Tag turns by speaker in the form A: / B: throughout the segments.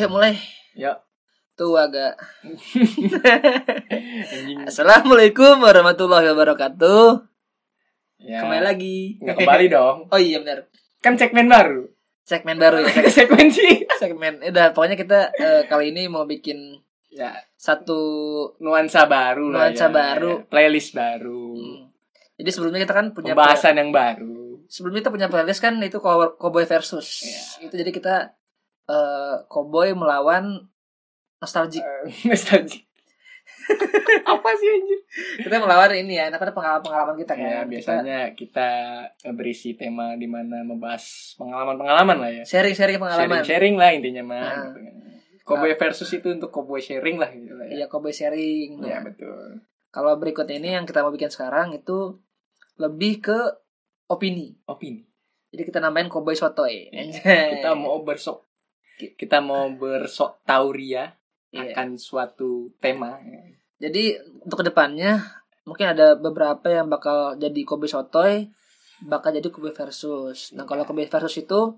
A: ya mulai.
B: Ya.
A: Tuh agak. Assalamualaikum warahmatullahi wabarakatuh.
B: Ya.
A: Kembali lagi.
B: Nggak kembali dong.
A: Oh iya benar.
B: Kan segmen baru.
A: Segmen baru ya. seg-
B: segmen sih.
A: Segmen. Udah pokoknya kita eh, kali ini mau bikin
B: Ya,
A: satu.
B: nuansa baru lah.
A: Nuansa
B: ya.
A: baru.
B: Playlist baru.
A: Hmm. Jadi sebelumnya kita kan punya
B: Pembahasan yang baru.
A: sebelumnya kita punya playlist kan itu Cow- Cowboy versus.
B: Iya.
A: Itu jadi kita eh, Cowboy melawan nostalgia.
B: Eh, Nostalgia. Apa sih anjir?
A: Kita melawan ini ya, karena pengalaman-pengalaman kita kan.
B: Ya,
A: Kita
B: biasanya kita berisi tema di mana membahas pengalaman-pengalaman lah ya.
A: sharing-sharing pengalaman.
B: Sharing-sharing lah intinya mah.
A: Ah.
B: gitu kan. Cowboy versus itu untuk cowboy sharing lah gitu lah ya.
A: Iya, Cowboy sharing. Nah,
B: Iya, betul.
A: Kalau berikut ini yang kita mau bikin sekarang itu lebih ke opini.
B: Opini.
A: Jadi kita namain Cowboy eh. Sotoy.
B: Iya, kita mau bersok kita mau bersok tauria
A: Iya.
B: akan suatu tema
A: ya. Jadi untuk kedepannya mungkin ada beberapa yang bakal jadi Cowboy Sotoy, bakal jadi Cowboy versus. Nah,
B: Iya.
A: kalau Cowboy versus itu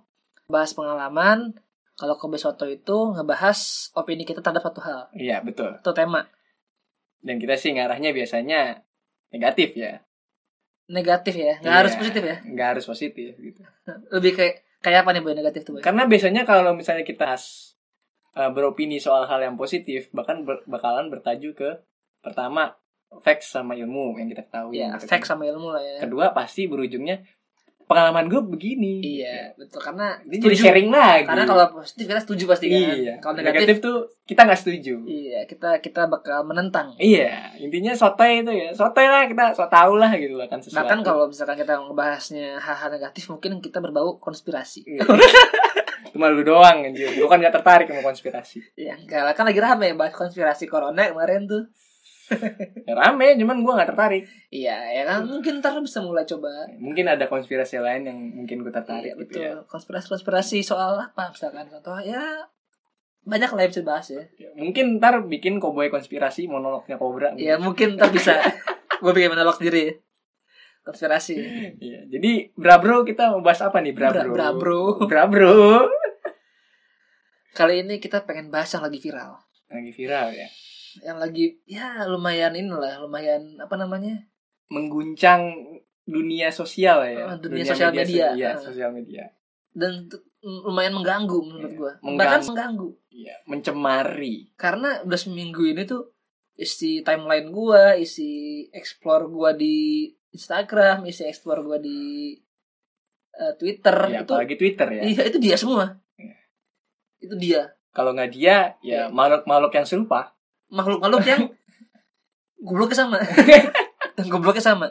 A: bahas pengalaman, kalau Cowboy Sotoy itu ngebahas opini kita terhadap satu hal,
B: iya betul
A: atau tema.
B: dan kita sih ngarahnya biasanya negatif ya
A: Negatif ya, nggak
B: Iya.
A: harus positif ya.
B: nggak harus positif gitu
A: Lebih kayak kayak apa nih boy negatif tuh boy?
B: karena biasanya kalau misalnya kita has- eh, beropini soal hal yang positif bahkan ber- bakalan bertaju ke pertama facts sama ilmu yang kita ketahui
A: Ya,
B: gitu kan.
A: fact sama ilmu lah ya.
B: kedua pasti berujungnya pengalaman gue begini
A: Iya, betul karena
B: ini
A: setuju.
B: jadi sharing lagi
A: Karena kalau positif kita setuju pasti kan.
B: iya
A: Kalau
B: negatif
A: negatif,
B: tuh kita nggak setuju
A: iya kita kita bakal menentang.
B: Iya, intinya sotoy itu ya. Sotoy lah kita so tau lah gitu lah kan sesuatu.
A: Bahkan kalau misalkan kita ngebahasnya hal-hal negatif mungkin kita berbau konspirasi.
B: Iya. cuma lu doang anjir. Gua kan gak tertarik sama konspirasi.
A: Ya enggak lah kan lagi rame bahas konspirasi corona kemarin tuh.
B: Ya, rame, cuman gua gak tertarik.
A: Iya, ya kan mungkin ntar bisa mulai coba.
B: Mungkin ada konspirasi lain yang mungkin gua tertarik
A: Iya,
B: gitu
A: betul.
B: ya.
A: Konspirasi-konspirasi soal apa misalkan contoh ya banyak lah yang bisa dibahas ya.
B: Mungkin ntar bikin koboi konspirasi monolognya Cobra. gitu.
A: Ya mungkin ntar bisa gue bikin monolog sendiri. Konspirasi.
B: Iya. Jadi, Brabro kita mau bahas apa nih, Brabro?
A: Bra- bro.
B: Brabro.
A: Kali ini kita pengen bahas yang lagi viral.
B: Lagi viral ya.
A: yang lagi ya lumayan inilah lumayan apa namanya
B: Mengguncang dunia sosial
A: Ah,
B: ya.
A: dunia sosial media.
B: Iya,
A: Ah.
B: sosial media.
A: dan t- lumayan mengganggu menurut
B: Iya,
A: gua
B: mengganggu.
A: bahkan mengganggu
B: Iya, mencemari.
A: karena udah seminggu ini tuh isi timeline gua isi explore gua di Instagram isi explore gua di eh, Twitter
B: Ya,
A: itu
B: apalagi Twitter ya.
A: iya itu dia semua
B: Iya.
A: itu dia
B: kalau nggak dia
A: Iya.
B: ya makhluk-makhluk yang serupa
A: makhluk-makhluk yang gobloknya sama dan gobloknya sama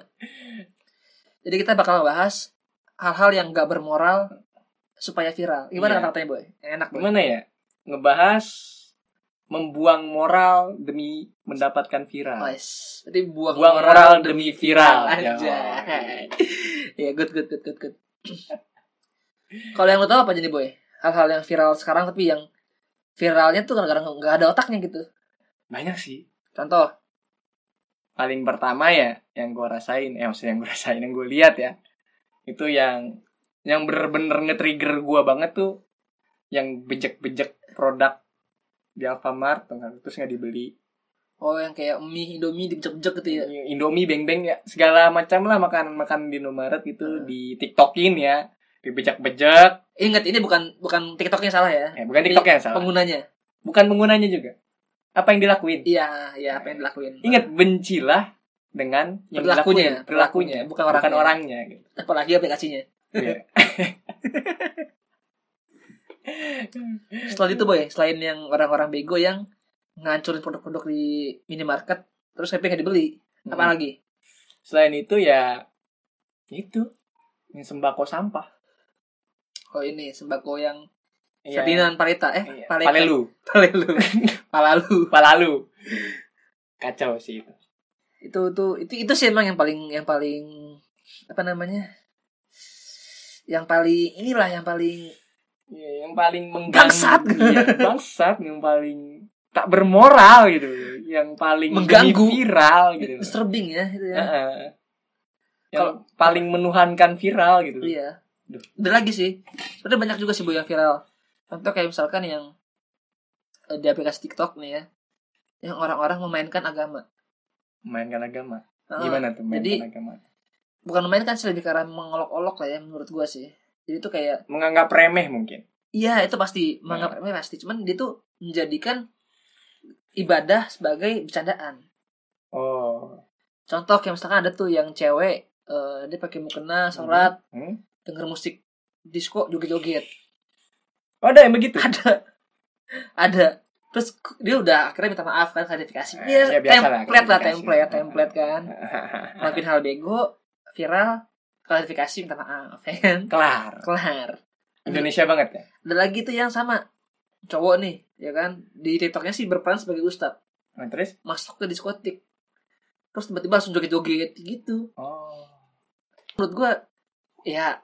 A: jadi kita bakal bahas hal-hal yang gak bermoral supaya viral gimana
B: Iya.
A: kata-katanya boy yang enak boy
B: gimana ya ngebahas membuang moral demi mendapatkan viral
A: Wes. jadi buang,
B: buang Oh, iya. moral ya demi viral
A: aja
B: Ya.
A: ya good good good good good kalau yang lo tau apa jadi boy hal-hal yang viral sekarang tapi yang viralnya tuh gara-gara nggak ada otaknya gitu
B: banyak sih
A: contoh
B: paling pertama ya yang gue rasain eh maksudnya yang gue rasain yang gue lihat ya itu yang yang bener-bener nge-trigger gue banget tuh yang bejek-bejek produk di Alfamart terus nggak dibeli
A: oh yang kayak mie indomie dibejek-bejek gitu ya
B: Iya. Indomie beng beng ya segala macam lah makanan makanan di Indomaret itu
A: Hmm.
B: di TikTokin ya dibejak bejak
A: ingat ini bukan bukan tiktoknya salah ya
B: ya, bukan TikTok yang salah
A: penggunanya
B: bukan penggunanya juga apa yang dilakuin
A: Iya, iya apa yang dilakuin.
B: ingat bencilah dengan yang
A: Perilakunya,
B: dilakuin, perilakunya
A: bukan
B: bukan
A: orangnya.
B: orangnya gitu.
A: Apalagi aplikasinya.
B: Iya.
A: Setelah itu boy, selain yang orang-orang bego yang ngancurin produk-produk di minimarket, terus HP nggak dibeli, apa
B: Hmm.
A: lagi?
B: selain itu ya itu yang sembako sampah
A: Oh ini sembako yang
B: Iya.
A: Ferdinand Paleta, eh
B: Iya.
A: Paleta.
B: palelu
A: Palelu. Palalu.
B: palalu kacau sih itu
A: Itu tuh itu itu sih emang yang paling yang paling apa namanya? Yang paling inilah yang paling
B: Iya, yang paling mengganggu
A: Bangsat.
B: Iya, bangsat yang paling tak bermoral gitu yang paling
A: Mengganggu.
B: jadi viral gitu
A: disturbing ya itu ya.
B: Heeh. yang
A: Kalau-
B: paling menuhankan viral gitu
A: Iya.
B: Duh.
A: Ada lagi sih. Sebenarnya banyak juga sih bu yang viral. Contoh kayak misalkan yang eh, di aplikasi TikTok nih ya yang orang-orang memainkan agama
B: Mainkan agama.
A: Heeh.
B: Gimana tuh mainkan
A: Ah, jadi-
B: agama?
A: bukan memainkan sih lebih karena mengolok-olok lah ya menurut gua sih jadi tuh kayak
B: Menganggap remeh mungkin.
A: Iya itu pasti menganggap
B: Hmm.
A: remeh pasti cuman dia tuh menjadikan ibadah sebagai bercandaan.
B: Oh.
A: Contoh kayak misalkan ada tuh yang cewek eh, dia pakai mukena sholat
B: Hmm?
A: denger musik disco joget-joget
B: Oh, ada yang begitu.
A: ada ada terus k- dia udah akhirnya minta maaf kan klarifikasi
B: Eh,
A: dia
B: ya, biasa lah,
A: template lah
B: klarifikasi. Eh,
A: template template kan
B: Hahaha.
A: ngelakuin hal bego viral klarifikasi minta maaf ya kan
B: Kelar.
A: kelar
B: Indonesia banget ya.
A: ada lagi tuh yang sama cowok nih ya kan di tiktoknya sih berperan sebagai ustad
B: Nah, terus?
A: masuk ke diskotik terus tiba-tiba langsung joget-joget gitu
B: Oh.
A: menurut gua ya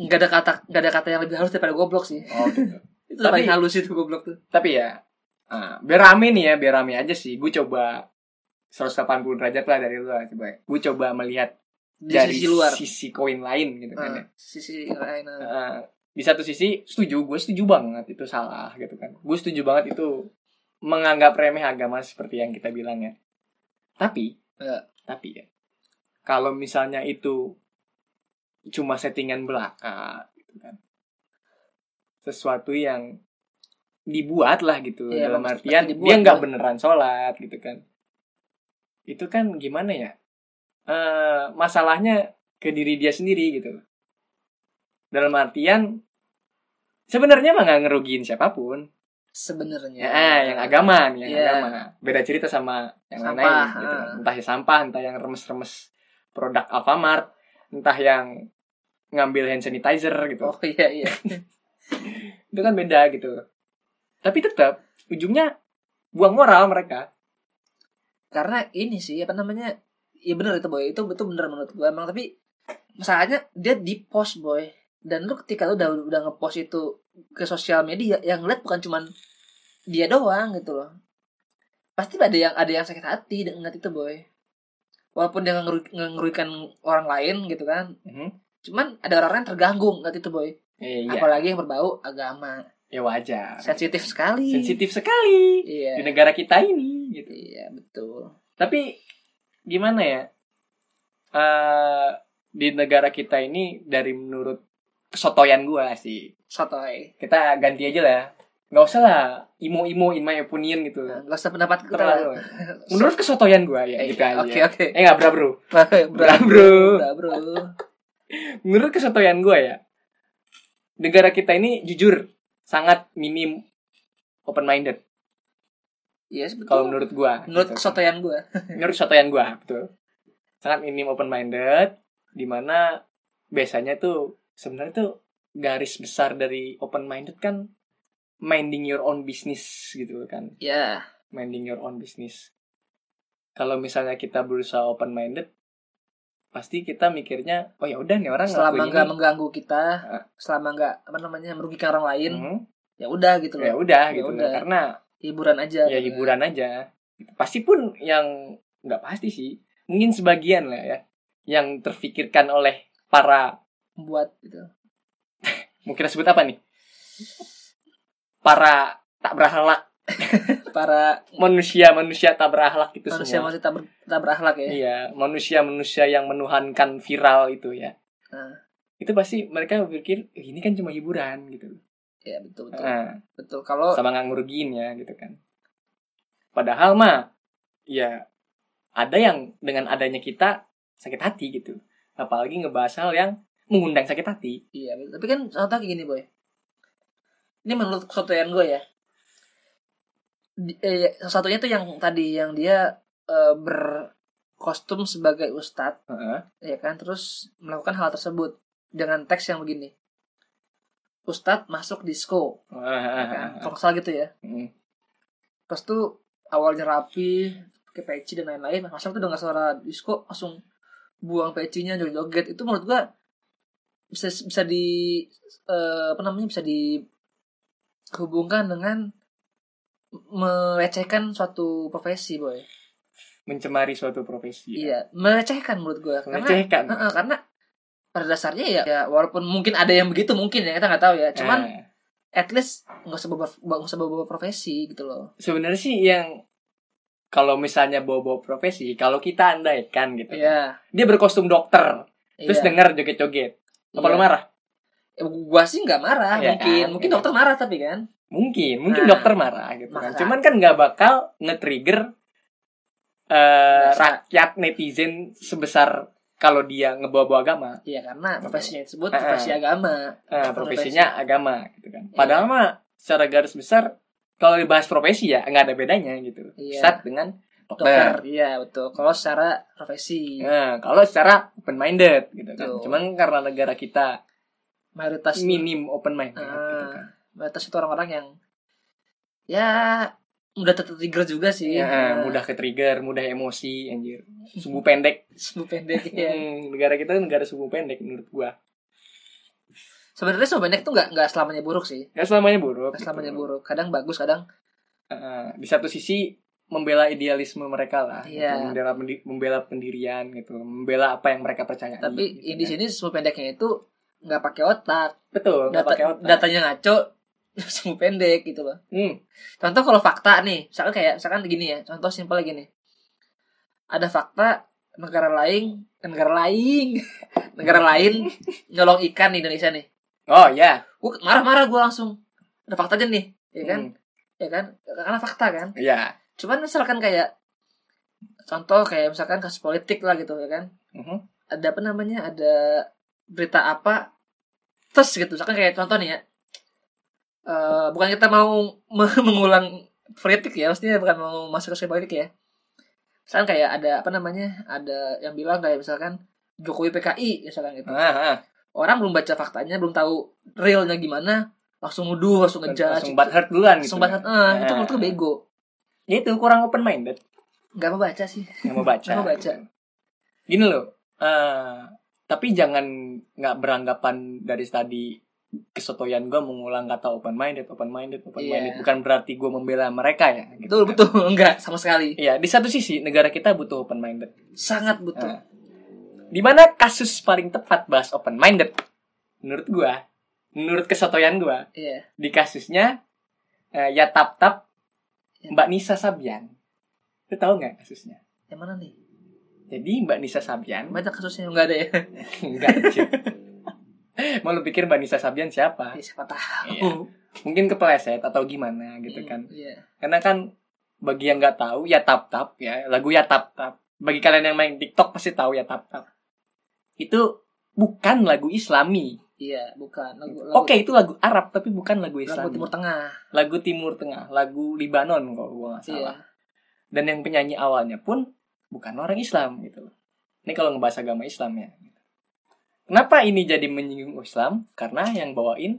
A: nggak ada kata nggak ada kata yang lebih halus daripada goblok sih
B: Oh, gitu.
A: itu
B: Tapi-
A: paling halus itu goblok tuh
B: Tapi ya, ah, biar rame nih ya, biar rame aja sih. Gue coba 180 derajat lah dari lu lah. Coba. Gue coba melihat
A: di
B: dari
A: sisi luar
B: sisi koin lain gitu kan ya.
A: Ah, sisi lain ah.
B: Eh, di satu sisi setuju, gue setuju banget itu salah gitu kan. Gue setuju banget itu menganggap remeh agama seperti yang kita bilang ya. Tapi,
A: Ya.
B: tapi ya, kalau misalnya itu cuma settingan belaka gitu kan. Sesuatu yang dibuat lah gitu
A: Iya,
B: dalam
A: emang
B: artian
A: seperti
B: dia
A: dibuat,
B: nggak
A: kan.
B: beneran sholat gitu kan. Itu kan gimana ya? Eh masalahnya ke diri dia sendiri gitu dalam artian sebenarnya mah nggak ngerugiin siapapun
A: sebenarnya
B: ya eh, yang agama nih yang
A: Iya.
B: agama beda cerita sama yang
A: Sampah,
B: lain gitu kan.
A: ah.
B: entah yang sampah entah yang remes-remes produk Alfamart entah yang ngambil hand sanitizer gitu
A: oh iya iya
B: itu kan beda gitu tapi tetap ujungnya buang moral mereka
A: karena ini sih apa namanya ya bener itu boy itu betul bener menurut gua emang tapi masalahnya dia di post boy dan lu ketika lu udah udah ngepost itu ke sosial media yang lihat bukan cuman dia doang gitu loh pasti ada yang ada yang sakit hati dengan ngeliat itu boy walaupun dia nggak ngeru- nggak ngerugikan orang lain gitu kan
B: Mhm.
A: cuman ada orang yang terganggu ngeliat itu boy
B: Eh, iya
A: apalagi yang berbau agama
B: ya wajar
A: sensitif sekali
B: sensitif sekali di
A: iya
B: negara kita ini gitu
A: iya betul
B: tapi gimana ya Eh di negara kita ini dari menurut kesotoyan gua sih Iya.
A: sotoy
B: kita ganti aja lah ya. nggak usah lah imo imo in my opinion gitu
A: Nah, nggak usah pendapat kita lah. Iya,
B: terlalu menurut kesotoyan gua ya gitu aja
A: Oke oke.
B: eh nggak bra bro
A: Bra
B: bro.
A: Bra bro.
B: menurut kesotoyan gua ya negara kita ini jujur sangat minim open minded
A: Iya yes, betul.
B: kalau menurut gua
A: menurut
B: gitu.
A: kesotoyan gue.
B: menurut sotoyan gue betul sangat minim open minded dimana biasanya tuh sebenarnya tuh garis besar dari open minded kan minding your own business gitu kan
A: Ya.
B: minding your own business kalau misalnya kita berusaha open minded pasti kita mikirnya oh ya udah nih orang
A: Selama
B: ngelakuin
A: nggak
B: ini.
A: mengganggu kita,
B: Ah.
A: selama nggak apa namanya merugikan orang lain,
B: Hmm,
A: ya udah gitu
B: ya
A: loh.
B: udah
A: Ya
B: gitu
A: udah.
B: karena
A: Hiburan aja.
B: ya
A: gitu.
B: hiburan aja pasti pun yang nggak pasti sih mungkin sebagian lah ya yang terfikirkan oleh para
A: Buat gitu.
B: mungkin sebut apa nih para tak berahlak
A: Para
B: manusia manusia tak berahlak itu
A: manusia
B: semua
A: masih tak, ber, tak berakhlak ya.
B: iya manusia manusia yang menuhankan viral itu ya
A: Ah.
B: itu pasti mereka berpikir "Eh, ini kan cuma hiburan gitu
A: Ya betul betul.
B: Ah.
A: Betul. Kalau
B: sama nggak ngerugiin ya gitu kan padahal mah ya ada yang dengan adanya kita sakit hati gitu apalagi ngebahas hal yang mengundang sakit hati
A: iya, betul. tapi kan contoh kayak gini boy. Ini menurut kesotoyan gue ya. Di, eh, salah satunya tuh yang tadi yang dia eh, berkostum sebagai ustadz ya kan terus melakukan hal tersebut dengan teks yang begini Ustadz masuk disco ya
B: ah,
A: kan? kalau nggak salah gitu ya
B: Mm.
A: terus tuh awalnya rapi pakai peci dan lain-lain masuk tuh dengan suara disco langsung buang pecinya joget-joget itu menurut gua bisa bisa di eh, apa namanya bisa dihubungkan dengan melecehkan suatu profesi boy
B: mencemari suatu profesi ya.
A: iya melecehkan menurut gua karena
B: melecehkan
A: Heeh, karena pada dasarnya ya, ya walaupun mungkin ada yang begitu mungkin ya kita nggak tahu ya cuman
B: Ah,
A: at least nggak usah bawa nggak usah bawa, profesi gitu loh
B: sebenarnya sih yang kalau misalnya bawa-bawa profesi, kalau kita andaikan gitu,
A: iya
B: dia berkostum dokter, terus
A: iya.
B: denger joget-joget, apa lu
A: Iya.
B: marah?
A: Ya, gua sih nggak marah
B: Iya
A: mungkin
B: kan?
A: mungkin
B: Iya.
A: dokter marah tapi kan
B: Mungkin, mungkin
A: Nah,
B: dokter marah gitu kan.
A: marah.
B: Cuman kan nggak bakal nge-trigger eh,
A: Masa.
B: rakyat netizen sebesar kalau dia ngebawa-bawa agama,
A: iya karena profesinya disebut
B: Ah, ah.
A: profesi agama
B: eh,
A: Atau
B: profesinya agama gitu kan.
A: Iya.
B: Padahal mah secara garis besar kalau dibahas profesi ya nggak ada bedanya gitu.
A: Iya.
B: Ustadz dengan dokter.
A: dokter iya betul kalau secara profesi
B: Nah, kalau secara open minded gitu kan.
A: Betul.
B: Cuman karena negara kita
A: mayoritas
B: minim open minded
A: Ah.
B: gitu kan.
A: mayoritas itu orang-orang yang ya mudah tertrigger juga sih
B: Ya,
A: Nah,
B: mudah ke trigger, mudah emosi anjir. Sumbu pendek.
A: sumbu pendek ya
B: Hmm, negara kita negara sumbu pendek menurut gua.
A: sebenarnya sumbu pendek tuh nggak nggak selamanya buruk sih
B: Gak selamanya buruk.
A: nggak selamanya
B: gitu.
A: buruk kadang bagus kadang
B: Eh, di satu sisi membela idealisme mereka lah, gitu.
A: Iya.
B: membela pendi- membela pendirian gitu, membela apa yang mereka percaya.
A: tapi
B: gitu
A: di
B: kan.
A: sini sumbu pendeknya itu nggak pakai otak
B: betul, nggak
A: Data-
B: pakai otak.
A: datanya ngaco sumbu pendek gitu loh
B: Hmm,
A: contoh kalau fakta nih misalkan kayak misalkan gini ya contoh simpel lagi nih ada fakta negara lain negara lain negara lain nyolong ikan di Indonesia nih
B: Oh ya,
A: gue marah-marah gue langsung ada fakta aja nih ya kan
B: Hmm,
A: ya kan karena fakta kan
B: ya.
A: cuman misalkan kayak contoh kayak misalkan kasus politik lah gitu ya kan
B: Mhm.
A: ada apa namanya ada berita apa terus gitu misalkan kayak contoh nih ya Eh, bukan kita mau me- mengulang politik ya maksudnya bukan mau masuk ke politik ya misalkan kayak ada apa namanya ada yang bilang kayak misalkan Jokowi PKI misalkan gitu
B: Ah, ah.
A: orang belum baca faktanya belum tahu realnya gimana langsung nuduh langsung ngejudge
B: Langsung butthurt duluan gitu.
A: langsung banget eh, itu menurut gue bego
B: Ya itu kurang open minded.
A: nggak mau baca sih
B: Nggak mau baca.
A: Nggak mau baca.
B: gitu. Gini loh. eh, tapi jangan nggak beranggapan dari tadi kesotoyan gue mengulang kata open minded, open minded, open minded.
A: Iya.
B: Bukan berarti gue membela mereka ya.
A: betul
B: gitu kan.
A: betul enggak sama sekali
B: Iya, di satu sisi negara kita butuh open minded.
A: sangat betul
B: Eh. Di mana kasus paling tepat bahas open minded? Menurut gua, menurut kesotoyan gua,
A: iya
B: di kasusnya eh, ya tap tap
A: Ya.
B: Mbak Nisa Sabian. Lu tahu nggak kasusnya?
A: yang mana nih
B: Jadi Mbak Nisa Sabian
A: banyak kasusnya yang enggak ada ya
B: enggak anjir. Mau lu pikir Mbak Nisa Sabian siapa?
A: Ya, siapa tahu
B: Iya. Mungkin kepleset atau gimana gitu kan.
A: iya
B: Karena kan bagi yang nggak tahu ya tap tap ya lagu ya tap tap. Bagi kalian yang main TikTok pasti tahu ya tap tap. Itu bukan lagu Islami.
A: iya bukan lagu lagu,
B: Gitu. Oke, itu lagu Arab tapi bukan lagu
A: lagu
B: Islami.
A: timur tengah
B: Lagu Timur Tengah, lagu Libanon kalau gua nggak salah.
A: iya
B: dan yang penyanyi awalnya pun bukan orang Islam gitu loh. Ini kalau ngebahas agama Islam ya. Kenapa ini jadi menyinggung Islam? Karena yang bawain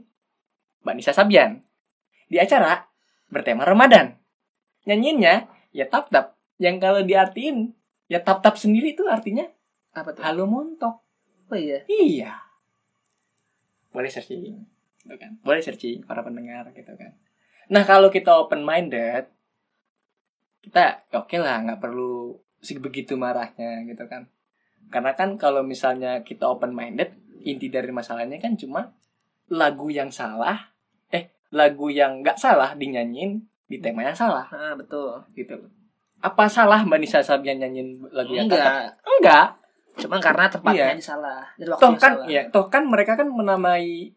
B: Mbak Nisa Sabian. Di acara bertema Ramadan. Nyanyiinnya ya tap-tap. Yang kalau diartiin ya tap-tap sendiri itu artinya
A: apa tuh
B: halo montok.
A: oh iya
B: Iya. Boleh searching. Gitu kan. Boleh searching para pendengar gitu kan. Nah kalau kita open minded kita ya oke lah nggak perlu sebegitu marahnya gitu kan karena kan kalau misalnya kita open minded inti dari masalahnya kan cuma lagu yang salah eh lagu yang nggak salah dinyanyiin di tema yang salah
A: ah betul
B: gitu loh apa salah mbak Nisa Sabian nyanyiin lagu yang
A: enggak
B: kata- enggak
A: cuman karena tempatnya
B: Iya.
A: aja salah dan
B: toh
A: waktunya
B: kan
A: salah
B: ya toh kan mereka kan menamai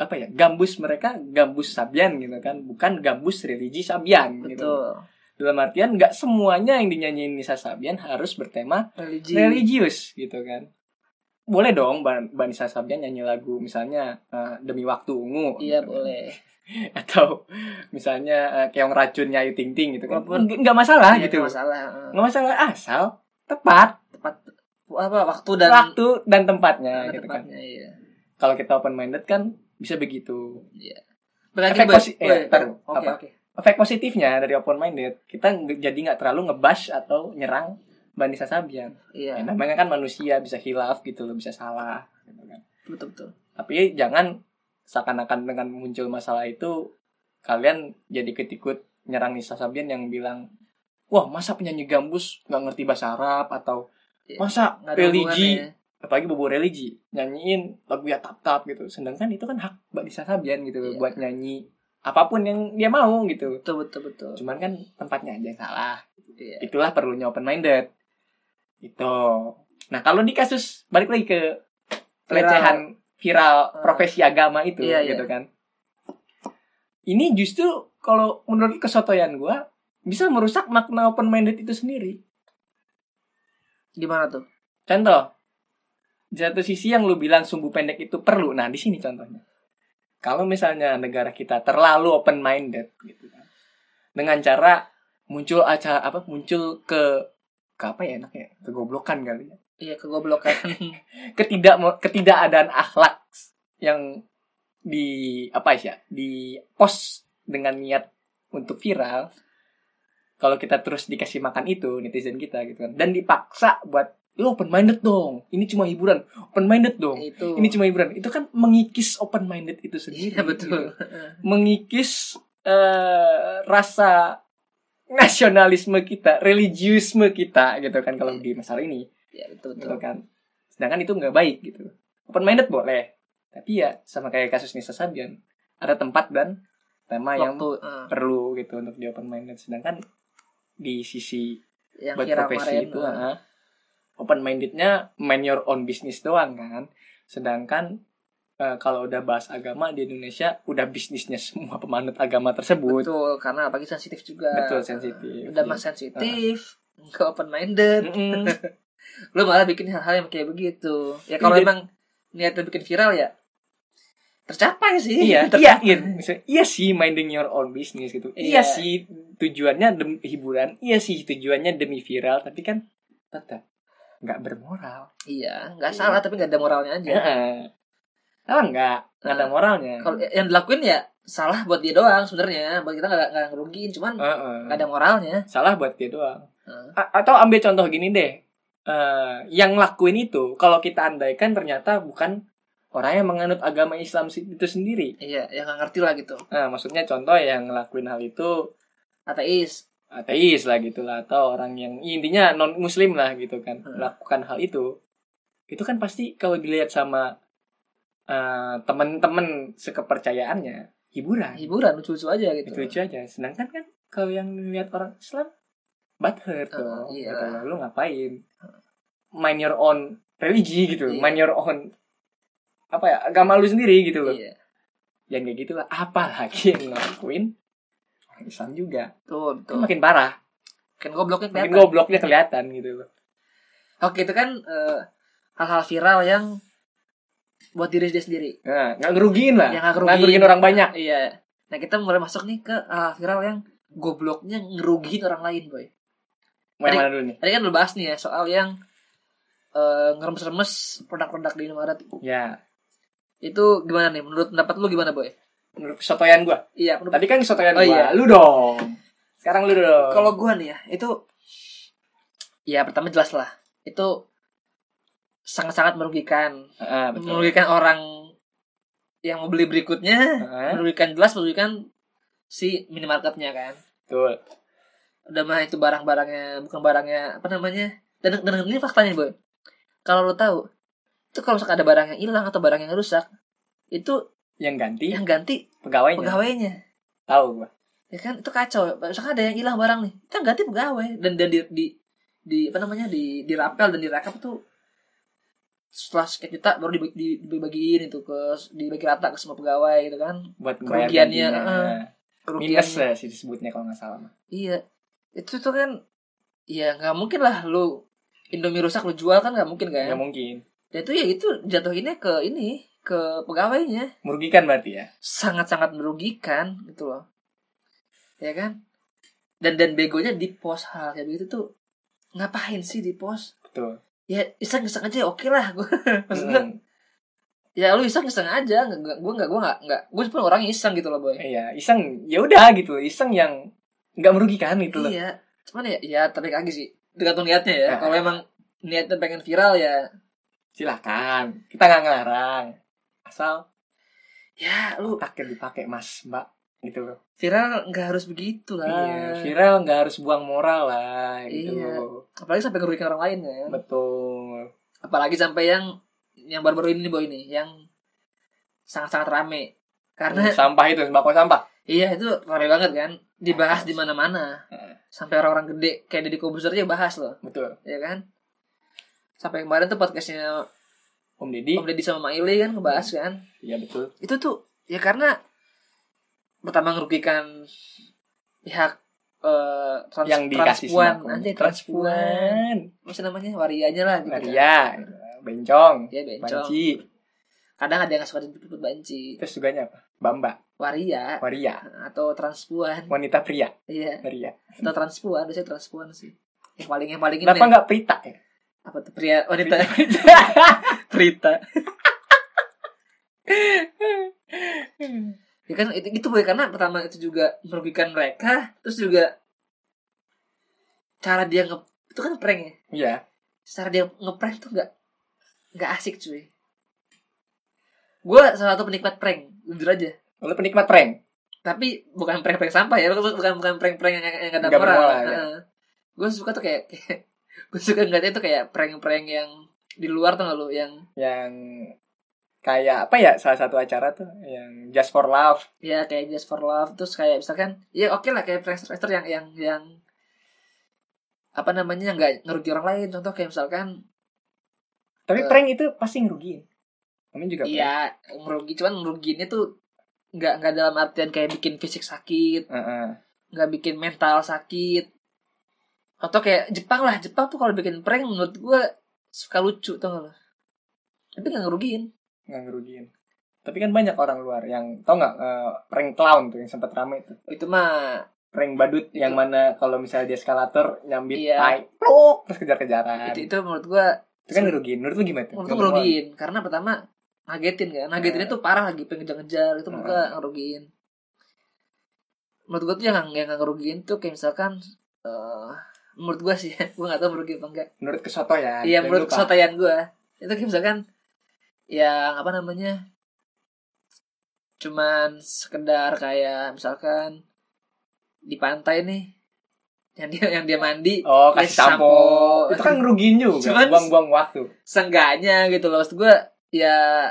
B: apa ya gambus mereka gambus Sabian gitu kan bukan gambus religi Sabian gitu
A: betul
B: dalam artian nggak semuanya yang dinyanyiin Nisa Sabian harus bertema
A: religi
B: religius gitu kan boleh dong Mbak Mbak Nisa Sabian nyanyi lagu misalnya eh, demi waktu ungu
A: iya
B: gitu kan.
A: boleh
B: atau misalnya eh, keong racun Nyayu Ting Ting gitu kan
A: Walaupun-
B: Nggak- nggak masalah
A: Iya,
B: gitu
A: nggak masalah eh.
B: nggak masalah asal tepat
A: tepat apa waktu dan
B: waktu dan tempatnya
A: dan
B: gitu kan
A: tempatnya iya
B: kalau kita open minded kan bisa begitu
A: Berarti
B: Efek
A: buat-
B: posi- eh,
A: buat-
B: taruh.
A: Oke,
B: Apa?
A: oke.
B: efek positifnya dari open minded kita nggak- jadi nggak terlalu ngebash atau nyerang Mbak Nisa Sabian
A: Iya,
B: Ya, namanya kan manusia bisa hilaf gitu loh, bisa salah. gitu kan.
A: betul betul.
B: Tapi jangan seakan-akan dengan muncul masalah itu kalian jadi ketikut nyerang Nisa Sabian yang bilang wah masa penyanyi gambus nggak ngerti bahasa Arab atau
A: Iya,
B: masa
A: Nggak ada ya."
B: religi
A: hubungannya.
B: apalagi bobo religi nyanyiin lagu ya tap tap gitu sedangkan itu kan hak mbak Lisa Sabian gitu
A: Iya.
B: buat nyanyi apapun yang dia mau gitu
A: betul betul betul
B: cuman kan tempatnya aja yang salah
A: Iya.
B: itulah perlunya open minded itu nah kalau di kasus balik lagi ke pelecehan
A: Ah.
B: viral profesi agama itu
A: Iya,
B: gitu kan ini justru kalau menurut kesotoyan gua bisa merusak makna open minded itu sendiri
A: gimana tuh
B: Contoh, di satu sisi yang lu bilang sumbu pendek itu perlu. Nah, di sini contohnya. Kalau misalnya negara kita terlalu open minded gitu kan. Dengan cara muncul acara apa muncul ke ke apa ya enaknya? Kegoblokan kali ya.
A: iya kegoblokan
B: Ketidak ketidakadaan akhlak yang di apa ya? Di post dengan niat untuk viral. Kalau kita terus dikasih makan itu netizen kita gitu kan. Dan dipaksa buat lu open minded dong. Ini cuma hiburan. Open minded dong
A: itu
B: ini cuma hiburan itu kan mengikis open minded itu sendiri
A: Iya, betul
B: gitu. mengikis eh, rasa nasionalisme kita religiusme kita gitu kan kalau di masalah ini
A: ya betul
B: gitu
A: betul
B: kan sedangkan itu nggak baik gitu open minded boleh tapi ya sama kayak kasus Nisa Sabian ada tempat dan tema yang
A: waktu eh,
B: perlu gitu untuk di open minded sedangkan di sisi
A: yang
B: buat
A: viral
B: profesi
A: kemarin
B: itu ah.
A: eh,
B: open mindednya mind your own business doang kan sedangkan eh, kalau udah bahas agama di Indonesia udah bisnisnya semua pemanut agama tersebut
A: betul karena apalagi sensitif juga
B: betul sensitif Ah. Hmm.
A: udah mas sensitif nggak open minded
B: Mm-mm.
A: lu malah bikin hal-hal yang kayak begitu ya kalau
B: Iya.
A: emang niat lu bikin viral ya tercapai sih
B: iya iya iya Maksudnya, iya sih minding your own business gitu iya,
A: Iya.
B: sih tujuannya demi hiburan iya sih tujuannya demi viral tapi kan tetap nggak bermoral
A: iya nggak salah tapi nggak ada moralnya aja
B: Heeh. apa enggak nggak ada
A: Eh,
B: moralnya
A: kalau yang dilakuin ya salah buat dia doang sebenarnya buat kita nggak nggak ngerugiin cuman
B: Heeh.
A: nggak ada moralnya
B: salah buat dia doang
A: Heeh.
B: A- atau ambil contoh gini deh Eh, yang lakuin itu kalau kita andaikan ternyata bukan orang yang menganut agama Islam si- itu sendiri
A: iya yang nggak ngerti lah gitu
B: nah maksudnya contoh yang ngelakuin hal itu
A: ateis
B: ateis lah gitulah atau orang yang ya, intinya non muslim lah gitu kan
A: Hmm.
B: lakukan hal itu itu kan pasti kalau dilihat sama eh, temen-temen sekepercayaannya hiburan
A: hiburan lucu-lucu aja gitu
B: itu lucu aja sedangkan kan kalau yang lihat orang Islam butthurt
A: Heeh,
B: tuh
A: iya.
B: gitu loh. lu ngapain mind your own religi gitu
A: Iya.
B: mind your own apa ya agama lu sendiri gitu loh
A: iya
B: yang kayak gitulah apalagi yang ngelakuin orang Islam juga
A: tuh
B: itu
A: tuh
B: makin parah
A: kan gobloknya
B: makin
A: kelihatan
B: gobloknya kelihatan gitu loh
A: oke itu kan eh, hal-hal viral yang buat diri dia sendiri
B: nah, nggak ngerugiin lah
A: yang
B: nggak
A: nggak
B: ngerugiin. orang banyak
A: iya nah kita mulai masuk nih ke hal viral yang gobloknya ngerugiin orang lain boy
B: mau
A: Jadi-
B: yang mana dulu nih
A: tadi kan lu bahas nih ya soal yang eh, ngeremes-remes produk-produk di Indomaret
B: ya
A: itu gimana nih menurut pendapat lu gimana boy
B: menurut kesotoyan gua
A: iya menurut
B: tadi kan kesotoyan
A: Oh,
B: gua
A: iya.
B: lu dong sekarang lu dong
A: kalau gua nih ya itu ya pertama jelas lah itu sangat-sangat merugikan
B: Ah, betul
A: merugikan orang yang mau beli berikutnya
B: Ah,
A: merugikan jelas merugikan si minimarketnya kan
B: betul
A: udah mah itu barang-barangnya bukan barangnya apa namanya dan, dan ini faktanya boy kalau lo tahu itu kalau misalkan ada barang yang hilang atau barang yang rusak itu
B: yang ganti
A: yang ganti
B: pegawainya
A: pegawainya
B: tahu gua
A: ya kan itu kacau misalkan ada yang hilang barang nih itu yang ganti pegawai dan dan di di, di apa namanya di dirapel dan dirakap tuh setelah sekian juta baru dibagi, di- dibagiin itu ke dibagi rata ke semua pegawai gitu kan
B: buat bayar
A: Kerugiannya,
B: gantinya. Nah,
A: heeh.
B: minus
A: Kerugiannya.
B: ya sih disebutnya kalau nggak salah mah.
A: Iya. Itu tuh kan ya nggak mungkin lah lu Indomie rusak lu jual kan nggak mungkin kan.
B: nggak mungkin
A: Dan itu ya itu jatuhinnya ke ini ke pegawainya
B: merugikan berarti ya
A: sangat-sangat merugikan gitu loh. Ya kan? Dan dan begonya di pos hal kayak begitu tuh ngapain sih di pos?
B: betul
A: Ya iseng-iseng aja oke lah gue. Maksudnya
B: Mm, Iya.
A: ya lu iseng-iseng aja nggak nggak- gue nggak gue nggak nggak gue pun orang iseng gitu loh boy.
B: iya iseng ya udah gitu iseng yang nggak merugikan gitu loh
A: Iya. Cuman ya, ya tarik lagi sih. Tergantung niatnya ya.
B: Nah.
A: Kalau emang niatnya pengen viral ya
B: silahkan kita nggak ngelarang asal
A: ya lu
B: takdir dipakai mas mbak gitu loh
A: viral nggak harus begitu lah.
B: iya viral nggak harus buang moral lah gitu
A: Iya.
B: loh
A: Apalagi sampai ngerugikan orang lain kan.
B: betul
A: ya. apalagi sampai yang yang baru-baru ini boy ini yang sangat-sangat rame karena
B: sampah itu sembako sampah
A: iya itu rame banget kan dibahas di mana-mana
B: Iya. Heeh.
A: sampai orang-orang gede kayak Deddy Kobuzer aja bahas loh
B: betul
A: ya kan sampai kemarin tuh podcastnya
B: Om Deddy
A: Om Deddy sama Maile kan ngebahas kan
B: iya betul
A: itu tuh ya karena pertama merugikan pihak eh, trans-
B: yang dikasih
A: transpuan
B: sembako.
A: nanti transpuan masih namanya warianya lah gitu kan.
B: Maria bencong
A: ya bencong
B: banci
A: kadang ada yang suka disebut banci
B: terus suganya apa bamba
A: waria
B: Maria
A: atau transpuan
B: wanita pria
A: iya
B: Maria
A: atau transpuan biasanya transpuan sih yang paling yang paling ini
B: kenapa nggak Prita ya
A: apa tuh pria wanita Prita ya kan itu itu boleh karena pertama itu juga merugikan mereka terus juga cara dia nge itu kan prank ya
B: iya
A: cara dia ngeprank tuh nggak nggak asik cuy gue salah satu penikmat prank jujur aja
B: lu penikmat prank
A: tapi bukan prank-prank sampah ya bukan bukan bukan prank-prank yang yang kata
B: Nggak
A: moral
B: bermoral, ya.
A: gue suka tuh kayak, gue suka ngeliatnya tuh kayak prank-prank yang di luar tuh nggak lu yang
B: yang kayak apa ya salah satu acara tuh yang just for love
A: ya kayak just for love terus kayak misalkan ya oke lah kayak prankster yang yang yang apa namanya yang nggak ngerugi orang lain contoh kayak misalkan Eh.
B: tapi prank itu pasti ngerugiin kami juga prank.
A: iya ngerugi cuman ngerugiinnya tuh nggak nggak dalam artian kayak bikin fisik sakit
B: Heeh.
A: nggak bikin mental sakit atau kayak Jepang lah Jepang tuh kalau bikin prank menurut gue suka lucu tau gak lo tapi nggak ngerugiin
B: nggak ngerugiin tapi kan banyak orang luar yang tau nggak eh, prank clown tuh yang sempat rame tuh
A: itu mah
B: prank badut yang mana kalau misalnya di eskalator nyambit
A: Iya.
B: tai pluk, terus kejar-kejaran
A: itu
B: itu,
A: itu menurut gue
B: kan ngerugiin menurut lu gimana tuh
A: Menurut gue ngerugiin karena pertama ngagetin kan ngagetinnya tuh parah lagi pengen ngejar itu menurut gue ngerugiin menurut gue tuh yang yang nggak ngerugiin tuh kayak misalkan eh menurut gue sih gue nggak tahu merugiin apa enggak
B: menurut kesoto ya
A: iya
B: jangan
A: menurut
B: lupa.
A: kesotoyan gue itu kayak misalkan yang apa namanya cuman sekedar kayak misalkan di pantai nih yang dia yang dia mandi
B: oh kasih
A: Yes,
B: sampo.
A: Ya, sampo.
B: itu kan ngerugiin juga
A: Cuman-
B: buang-buang waktu
A: senggaknya gitu loh maksud gue ya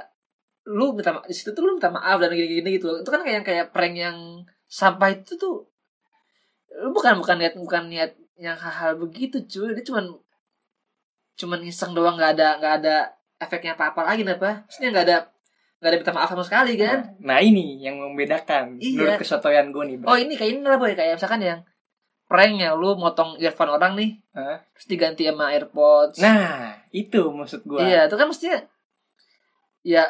A: lu minta ma- di situ tuh lu minta maaf dan gini-gini gitu loh itu kan kayak kayak prank yang sampah itu tuh lu bukan bukan niat bukan niat yang hal-hal begitu cuy dia cuman cuman iseng doang nggak ada nggak ada efeknya apa-apa lagi napa maksudnya nggak ada nggak ada minta maaf sama sekali kan
B: Nah, nah ini yang membedakan
A: Iya.
B: menurut kesotoyan gue nih. Bro.
A: oh ini kayak ini lah boy kayak misalkan yang prank yang lu motong earphone orang nih
B: Hah?
A: terus diganti sama airpods
B: Nah, itu maksud gue.
A: Iya, itu kan mestinya ya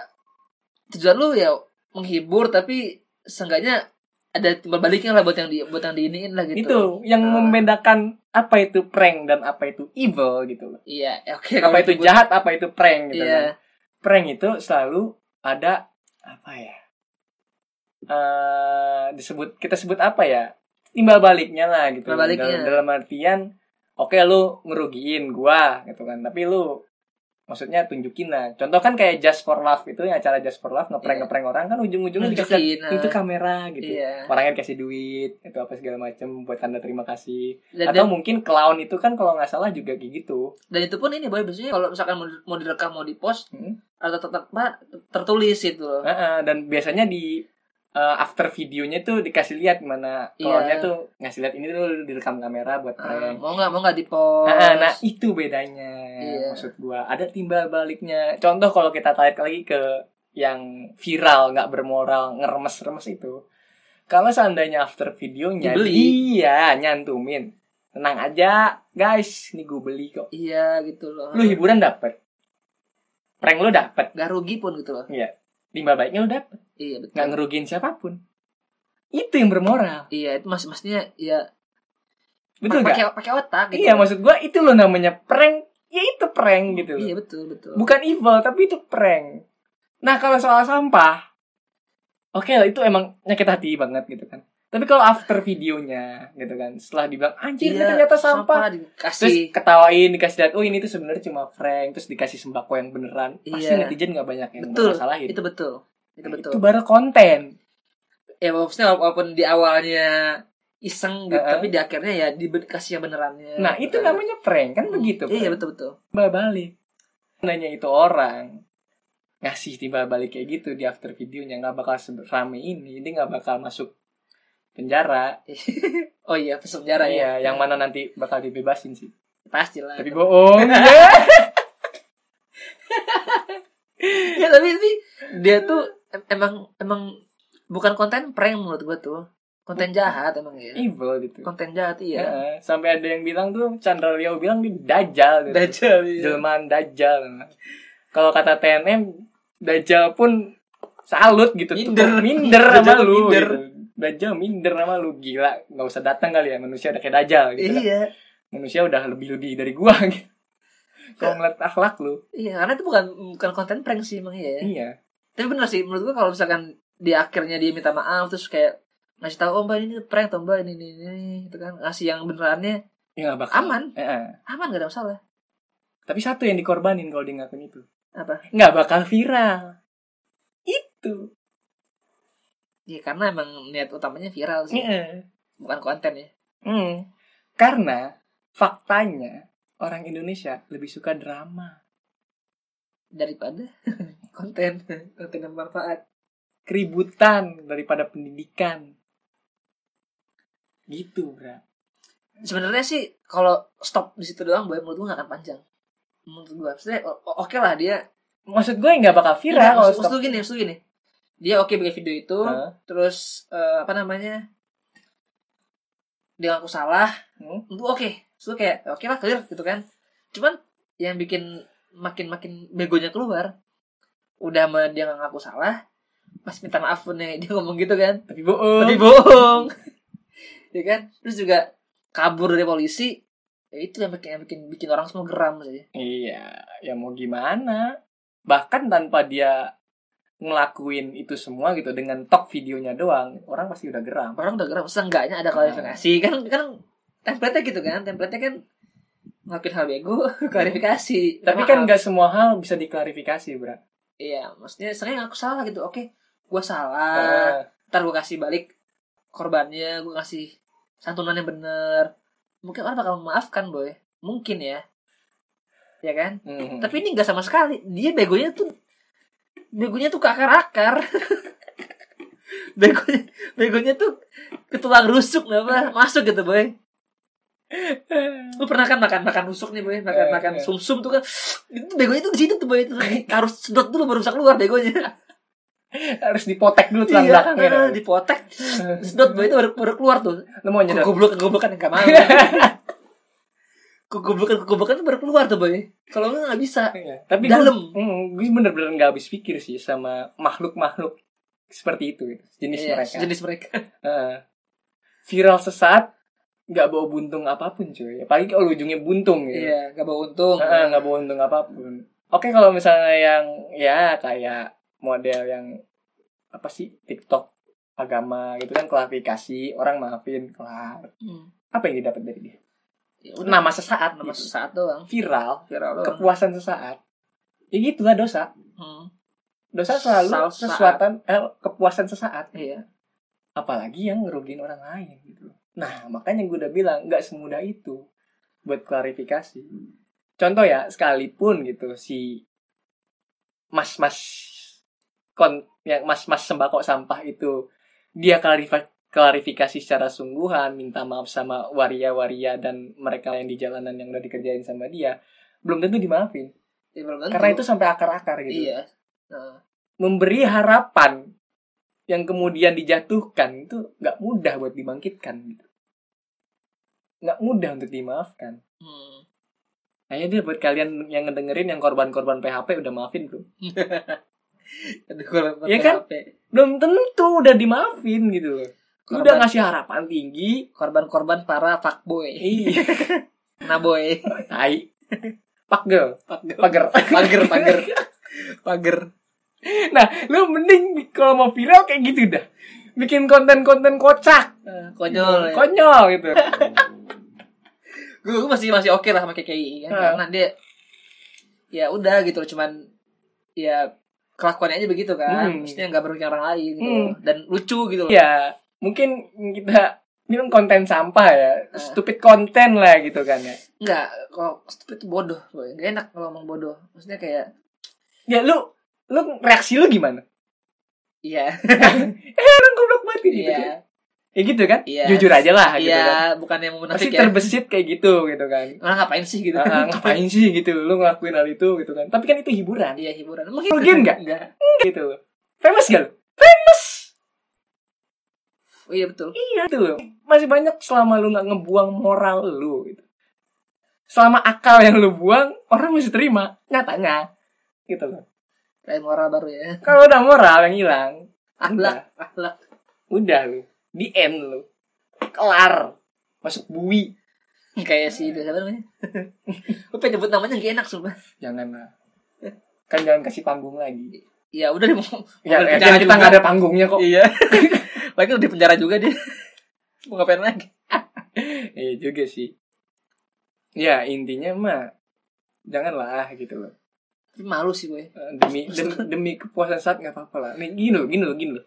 A: tujuan lu ya menghibur tapi seenggaknya ada timbal baliknya lah buat yang di buat yang diiniin lah gitu.
B: Itu yang
A: Ah.
B: membedakan apa itu prank dan apa itu evil gitu loh.
A: Iya, ya oke.
B: Apa
A: kalau
B: itu
A: disebut-
B: jahat, apa itu prank gitu
A: Iya,
B: kan. Prank itu selalu ada apa ya? Eh, disebut kita sebut apa ya? Timbal baliknya lah gitu.
A: Timbal baliknya.
B: Dalam, dalam artian oke lu ngerugiin gua gitu kan, tapi lu maksudnya tunjukin lah. Contoh kan kayak Just for Love itu yang acara Just for Love ngeprank
A: Iya.
B: ngeprank orang kan ujung-ujungnya dikasih
A: nunjukin. nah.
B: itu kamera gitu.
A: Iya.
B: orangnya dikasih duit itu apa segala macem buat tanda terima kasih
A: Dan,
B: atau
A: dan,
B: mungkin clown itu kan kalau nggak salah juga kayak gitu
A: dan itu pun ini boy biasanya kalau misalkan mau, mau direkam mau dipost
B: Hmm.
A: atau tetap apa, tertulis gitu loh.
B: Heeh, dan biasanya di eh, after videonya tuh dikasih lihat mana
A: Iya.
B: clownnya tuh ngasih lihat ini tuh direkam kamera buat
A: Ah,
B: prank
A: mau nggak mau nggak dipost.
B: Heeh, nah itu bedanya
A: Iya.
B: maksud gua ada timbal baliknya contoh kalau kita tarik lagi ke yang viral nggak bermoral ngeremes-remes itu kalau seandainya after videonya
A: Dibeli.
B: iya nyantumin tenang aja guys ini gue beli kok
A: Iya gitu loh.
B: lu hiburan dapet prank lu dapet
A: Nggak rugi pun gitu loh.
B: timbal baiknya lu dapet
A: Iya
B: nggak
A: betul.
B: ngerugiin siapapun itu yang bermoral
A: Iya itu mas maksudnya ya
B: betul gak?
A: pakai pakai otak gitu.
B: iya maksud gua itu lo namanya prank ya itu prank gitu loh
A: Iya betul betul.
B: bukan evil tapi itu prank nah kalau soal sampah oke lah itu emang nyakit hati banget gitu kan tapi kalau after videonya gitu kan setelah dibilang anjir
A: Iya,
B: ini ternyata sampah, terus
A: dikasih
B: ketawain dikasih lihat oh ini tuh sebenarnya cuma prank terus dikasih sembako yang beneran pasti
A: Iya.
B: netizen nggak banyak yang
A: Betul.
B: masalahin
A: itu betul itu betul
B: Nah, itu baru konten
A: ya maksudnya wala- walaupun di awalnya iseng gitu
B: Heeh.
A: tapi di akhirnya ya dikasih yang benerannya
B: nah itu namanya prank kan begitu
A: iya
B: prank.
A: betul betul
B: Timbal balik nanya itu orang ngasih tiba balik kayak gitu di after videonya nggak bakal serame ini dia nggak bakal masuk penjara
A: oh iya Ah, pas penjara ya
B: iya yang mana nanti bakal dibebasin sih
A: pasti lah
B: tapi bohong ya
A: ya tapi tapi dia tuh em- emang emang bukan konten prank menurut gue tuh konten jahat emang ya
B: evil gitu
A: konten jahat iya
B: Iya. Heeh, sampai ada yang bilang tuh Chandra Leo bilang dia dajal gitu.
A: Dajjal iya.
B: jelmaan dajal kalau kata TNM dajal pun salut gitu
A: Minder.
B: Tuh, minder sama
A: Dajjal
B: lu
A: minder.
B: gitu. dajal minder sama lu gila nggak usah datang kali ya manusia udah kayak dajal gitu
A: iya
B: manusia udah lebih lebih dari gua gitu
A: Ya.
B: kalau ngeliat akhlak lu
A: iya karena itu bukan bukan konten prank sih emang ya
B: iya
A: tapi bener sih menurut gue kalau misalkan di akhirnya dia minta maaf terus kayak ngasih tahu oh mbak ini prank toh mbak ini ini ini itu kan ngasih yang benerannya
B: ya gak bakal
A: aman
B: Heeh.
A: aman gak ada masalah
B: tapi satu yang dikorbanin kalau dia ngakuin itu
A: Apa?
B: nggak bakal viral itu
A: ya karena emang niat utamanya viral sih
B: Heeh.
A: bukan konten ya
B: Hmm. Karena faktanya orang Indonesia lebih suka drama,
A: daripada konten konten yang bermanfaat
B: keributan daripada pendidikan. Gitu, Bra.
A: sebenarnya sih kalau stop di situ doang boy menurut gue gak akan panjang menurut gue maksudnya o- o- oke lah dia
B: Maksud gue nggak bakal
A: Enggak,
B: viral kalau
A: Iya, maksud-
B: stop.
A: maksud gini maksud gini dia oke bikin video itu
B: Hah?
A: terus eh, apa namanya dia ngaku salah
B: Hmm.
A: itu oke itu kayak oke lah clear gitu kan cuman yang bikin makin makin begonya keluar udah sama dia nggak ngaku salah pas minta maaf pun yang dia ngomong gitu kan
B: Tapi bohong.
A: tapi bohong ya kan terus juga kabur dari polisi ya itu yang bikin yang bikin bikin orang semua geram sih
B: Iya, ya mau gimana? Bahkan tanpa dia ngelakuin itu semua gitu dengan tok videonya doang, orang pasti udah geram.
A: orang udah geram seenggaknya ada klarifikasi
B: Ah.
A: kan kan template-nya gitu kan template-nya kan ngelakuin hal bego klarifikasi
B: Tapi
A: Maaf.
B: kan nggak semua hal bisa diklarifikasi, Bra.
A: iya maksudnya sering aku salah gitu oke gua
B: Ah.
A: salah ntar gua kasih balik korbannya gua kasih santunan yang bener mungkin orang bakal memaafkan boy mungkin ya ya kan
B: Hmm.
A: tapi ini nggak sama sekali dia begonya tuh begonya tuh ke akar akar begonya begonya tuh ke tulang rusuk apa masuk gitu boy lu pernah kan makan makan rusuk nih boy makan
B: Eh,
A: makan
B: eh.
A: sum sum tuh kan itu begonya tuh di situ tuh boy Itu harus sedot dulu baru bisa keluar begonya
B: harus dipotek dulu tulang
A: iya
B: belakangnya.
A: eh, dipotek sedot boy itu baru, baru keluar tuh
B: Lu mau nyedot?
A: kegoblokan kegoblokan yang gak mau
B: Iya.
A: kegoblokan kegoblokan tuh baru keluar tuh boy kalau nggak nggak bisa
B: Iya, tapi
A: Dalam.
B: gue, mm, gue bener-bener nggak habis pikir sih sama makhluk-makhluk seperti itu gitu, jenis
A: Iya,
B: mereka
A: jenis mereka
B: Heeh. viral sesat nggak bawa buntung apapun cuy apalagi kalau ujungnya buntung gitu
A: Iya, gak bawa untung.
B: Heeh, nggak bawa untung apapun oke kalau misalnya yang ya kayak model yang apa sih TikTok agama gitu kan klarifikasi orang maafin kelar
A: Hmm.
B: apa yang didapat dari dia
A: Ya udah,
B: nama sesaat
A: nama
B: nama
A: sesaat doang.
B: viral
A: Viral doang.
B: kepuasan sesaat ya gitulah dosa
A: Hmm,
B: dosa selalu
A: Sesaat.
B: sesuatu eh, kepuasan sesaat
A: Iya.
B: apalagi yang ngerugiin orang lain gitu nah makanya gue udah bilang nggak semudah itu buat klarifikasi contoh ya sekalipun gitu si mas mas kon yang mas mas sembako sampah itu dia klarifa- klarifikasi secara sungguhan minta maaf sama waria-waria dan mereka yang di jalanan yang udah dikerjain sama dia belum tentu dimaafin
A: Ya, belum tentu.
B: karena itu sampai akar-akar gitu
A: iya. Nah,
B: memberi harapan yang kemudian dijatuhkan itu nggak mudah buat dibangkitkan gitu nggak mudah untuk dimaafkan
A: hmm.
B: Nah, dia buat kalian yang ngedengerin yang korban-korban PHP udah maafin belum?
A: Aduh, kalau
B: Iya
A: pakai
B: kan?
A: HP.
B: Belum tentu udah dimaafin gitu loh. Lu
A: Korban-
B: Udah ngasih harapan tinggi.
A: Korban-korban para fuckboy.
B: Iya,
A: Nah, boy.
B: tai. Pak girl,
A: Pager,
B: pager.
A: pager, pager. Pager.
B: Nah, lu mending kalau mau viral kayak gitu dah. Bikin konten-konten kocak.
A: Eh, Konyol. Ya.
B: Konyol gitu.
A: Gue masih masih oke lah sama KKI kan?
B: Eh.
A: Karena dia ya udah gitu loh, cuman ya kelakuannya aja begitu kan.
B: Hmm.
A: Maksudnya nggak merugikan orang lain gitu.
B: Hmm.
A: Dan lucu gitu loh.
B: Ya, mungkin kita bilang konten sampah ya
A: Ah.
B: stupid konten lah gitu kan ya
A: Enggak, kalau stupid itu bodoh. boy. Nggak enak kalau ngomong bodoh. Maksudnya kayak,
B: ya lu lu reaksi lu gimana
A: iya,
B: eh orang goblok banget gitu kan
A: iya,
B: ya gitu kan
A: Iya.
B: jujur aja lah gitu
A: iya,
B: kan
A: bukan yang
B: pasti
A: munafik ya.
B: terbesit kayak gitu gitu kan
A: Orang ngapain sih gitu?
B: Ah, ah, ngapain sih gitu lu ngelakuin hal itu gitu kan tapi kan itu hiburan
A: Iya hiburan. Mungkin
B: Rugi nggak?
A: Enggak.
B: gitu loh famous gak lu famous
A: Oh, iya betul.
B: iya gitu loh masih banyak selama lu nggak ngebuang moral lu gitu selama akal yang lu buang orang masih terima nyatanya gitu loh
A: Kayak moral baru ya.
B: kalau udah moral yang hilang
A: Akhlak, akhlak.
B: udah lu di end lu kelar masuk bui
A: Kayak si itu siapa namanya? Gue pengen nyebut namanya gak enak sumpah.
B: jangan lah kan jangan kasih panggung lagi
A: Ya udah dia mau.
B: ya,
A: mau
B: ya,
A: penjara
B: kita
A: juga.
B: nggak ada panggungnya kok
A: Iya. Lagi udah di penjara juga dia. Mau ngapain lagi?
B: Iya juga sih. Ya intinya mah janganlah gitu loh.
A: Tapi malu sih gue.
B: Eh, Demi demi, demi kepuasan saat nggak apa-apa lah. Nih gini loh, gini loh, gini loh.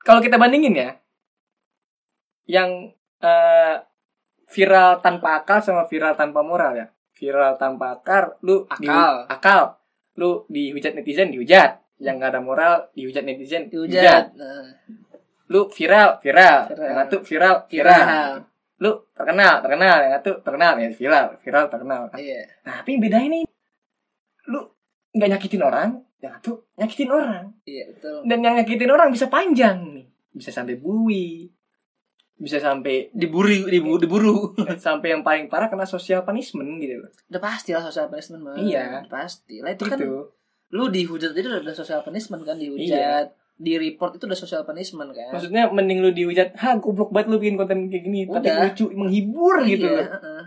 B: Kalau kita bandingin ya, yang eh, viral tanpa akal sama viral tanpa moral ya. Viral tanpa akal, lu di-
A: Akal.
B: akal, lu dihujat netizen dihujat. Yang nggak ada moral dihujat netizen
A: Dihujat. Nah,
B: Lu viral, viral.
A: Viral.
B: Yang satu viral, viral.
A: viral.
B: Lu terkenal, terkenal. Yang satu terkenal, ya viral, viral terkenal.
A: Iya.
B: Nah, tapi bedanya nih, lu nggak nyakitin orang, yang satu nyakitin orang.
A: Iya betul.
B: Dan yang nyakitin orang bisa panjang nih, bisa sampai bui, bisa sampai
A: Diburi, diburu, diburu.
B: sampai yang paling parah kena social punishment gitu loh.
A: Udah pasti lah social punishment mah.
B: Iya.
A: Pasti. Lah itu
B: Gitu.
A: kan lu dihujat itu udah social punishment kan
B: Iya.
A: dihujat. Di report itu udah social punishment kan.
B: Maksudnya mending lu dihujat, ha goblok banget lu bikin konten kayak gini, tapi
A: Udah.
B: lucu, menghibur gitu
A: Iya,
B: loh.
A: heeh.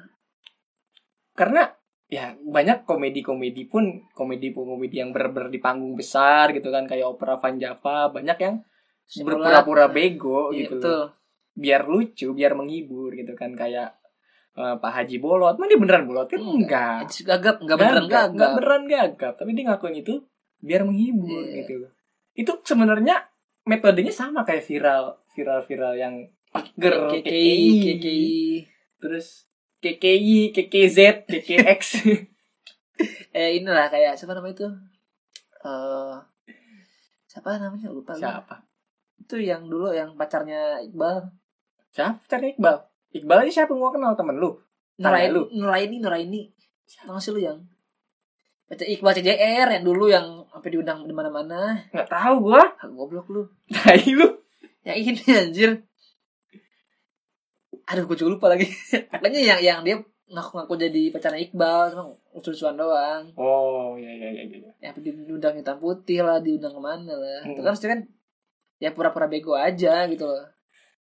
B: Karena ya banyak komedi-komedi pun komedi-komedi yang berber di panggung besar gitu kan kayak opera Van Java banyak yang
A: Simulat.
B: berpura-pura bego
A: Iya,
B: gitu loh.
A: betul.
B: biar lucu, biar menghibur gitu kan kayak eh, Pak Haji Bolot, mana dia beneran bolot kan? Enggak.
A: Itu gagap, enggak beneran
B: Gagap, Enggak
A: gagap.
B: beneran gagap, tapi dia ngakuin itu biar menghibur
A: Iya.
B: gitu loh. Itu sebenarnya metodenya sama kayak viral, viral-viral yang pager,
A: KKI, KKI,
B: terus KKI, KKZ, KKX.
A: eh inilah kayak siapa namanya itu? Eh siapa namanya lupa gue.
B: Siapa?
A: Itu yang dulu yang pacarnya Iqbal.
B: Siapa cari Iqbal? Iqbal aja siapa gua kenal temen lu? Tanya
A: Nuraini,
B: lu.
A: Nuraini, Nuraini. Tau gak sih lu yang Baca Iqbal CJR yang dulu yang sampai diundang di mana-mana.
B: Nggak tahu gua.
A: Ah, goblok lu.
B: Tai lu.
A: Yang Ya, ini anjir. Aduh, gue juga lupa lagi. Pokoknya yang yang dia ngaku-ngaku jadi pacarnya Iqbal, cuma lucu-lucuan doang.
B: Oh, iya iya iya iya.
A: ya diundang hitam putih lah diundang kemana lah itu
B: Mm.
A: kan maksudnya kan ya pura-pura bego aja gitu loh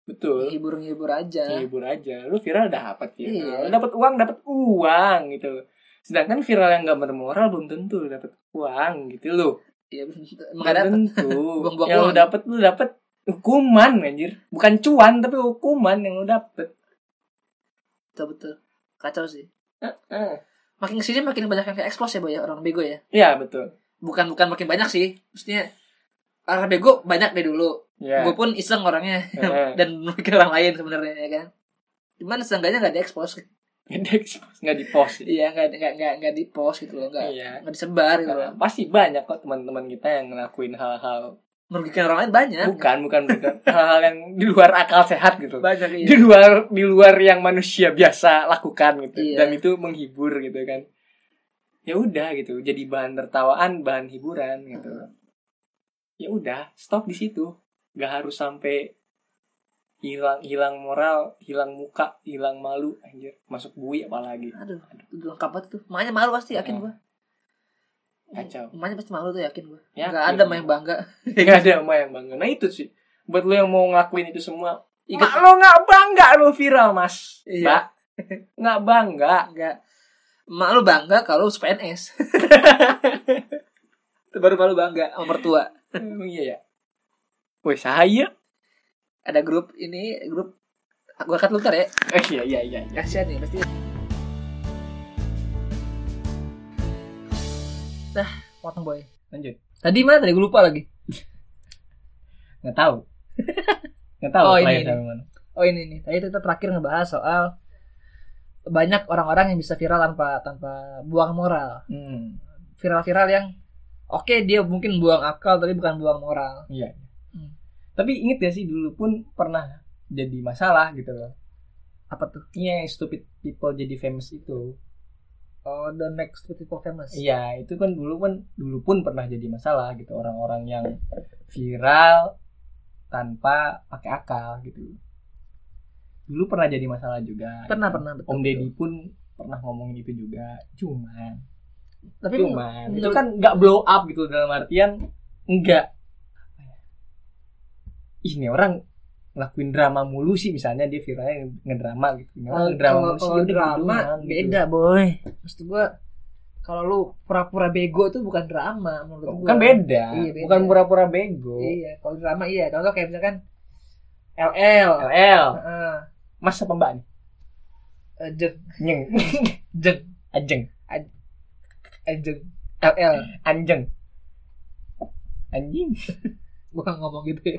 B: Betul. Iya.
A: hibur-hibur aja
B: hibur aja lu viral dapat ya
A: Iya.
B: lu dapat uang dapat uang gitu loh sedangkan viral yang gak bermoral belum tentu lu dapat uang gitu loh
A: ya emang
B: belum
A: ada apa?
B: tentu
A: Buang-buang
B: yang lu
A: uang.
B: dapat lu dapat hukuman anjir bukan cuan tapi hukuman yang lu dapat
A: betul betul kacau sih Hmm. makin kesini makin banyak yang eksplos ya boy ya, orang bego ya
B: Iya betul
A: bukan bukan makin banyak sih maksudnya orang bego banyak deh dulu
B: ya
A: gue pun iseng orangnya
B: Heeh.
A: dan mungkin orang lain sebenarnya ya kan cuman seenggaknya nggak diekspos
B: nggak di post
A: iya nggak nggak nggak nggak di post gitu loh nggak
B: iya
A: nggak disebar gitu
B: Nah,
A: loh
B: pasti banyak kok teman-teman kita yang ngelakuin hal-hal
A: merugikan orang lain banyak
B: bukan bukan bukan hal-hal yang di luar akal sehat gitu
A: banyak iya.
B: di luar di luar yang manusia biasa lakukan gitu
A: Iya.
B: dan itu menghibur gitu kan ya udah gitu jadi bahan tertawaan bahan hiburan gitu ya udah stop di situ nggak harus sampai hilang hilang moral hilang muka hilang malu anjir masuk bui apalagi
A: Aduh, itu lengkap banget tuh. Emaknya malu pasti yakin
B: Hmm.
A: gua.
B: kacau
A: Emaknya pasti malu tuh yakin gua.
B: Yakin.
A: Enggak ada mah yang bangga.
B: nggak ada emak yang bangga nah itu sih buat lo yang mau ngelakuin itu semua mak
A: Ingat
B: lo nggak bangga lo viral mas
A: Iya.
B: mbak nggak bangga
A: enggak. Emak lu bangga kalau lu PNS. itu baru malu bangga sama mertua.
B: Emang iya ya Woi, saya
A: Ada grup ini, grup gua angkat lu ntar ya.
B: Eh, iya iya iya. iya.
A: Kasihan nih pasti. Nah, potong boy.
B: Lanjut.
A: Tadi mana tadi gua lupa lagi.
B: Nggak tahu. Nggak tahu.
A: Oh,
B: klien
A: ini,
B: iya. sama mana.
A: oh ini nih tadi kita terakhir ngebahas soal banyak orang-orang yang bisa viral tanpa tanpa buang moral
B: Hmm.
A: viral-viral yang oke dia mungkin buang akal tapi bukan buang moral
B: Iya.
A: Hmm.
B: Tapi inget gak sih dulu pun pernah jadi masalah gitu loh.
A: apa tuh
B: Iya, yang stupid people jadi famous itu.
A: oh the next people famous
B: Iya, itu kan dulu kan dulu pun pernah jadi masalah gitu orang-orang yang viral tanpa pakai akal gitu. Dulu pernah jadi masalah juga.
A: pernah
B: gitu.
A: pernah betul,
B: Om
A: betul.
B: Deddy pun pernah ngomongin itu juga. Cuman,
A: tapi
B: cuman itu
A: menurut-
B: kan nggak blow up gitu dalam artian nggak apa ya, Ih, ini orang ngelakuin drama mulu sih misalnya dia viralnya ngedrama gitu. Ini orang
A: kalau
B: ngedrama
A: kalau-
B: mulu sih,
A: kalau
B: yaudah gitu
A: drama
B: doang, gitu.
A: beda boy maksud gua kalau lu pura-pura bego itu bukan drama menurut gua
B: Kan beda.
A: Iya, beda.
B: Bukan pura-pura bego.
A: iya kalau drama iya contoh kayak misalkan LL
B: LL.
A: Heeh.
B: Masa pembak nih?
A: Eh, jeng
B: Nyeng.
A: jeng
B: Ajeng.
A: eh, jeng LL
B: Anjeng. Anjing.
A: bukan ngomong gitu ya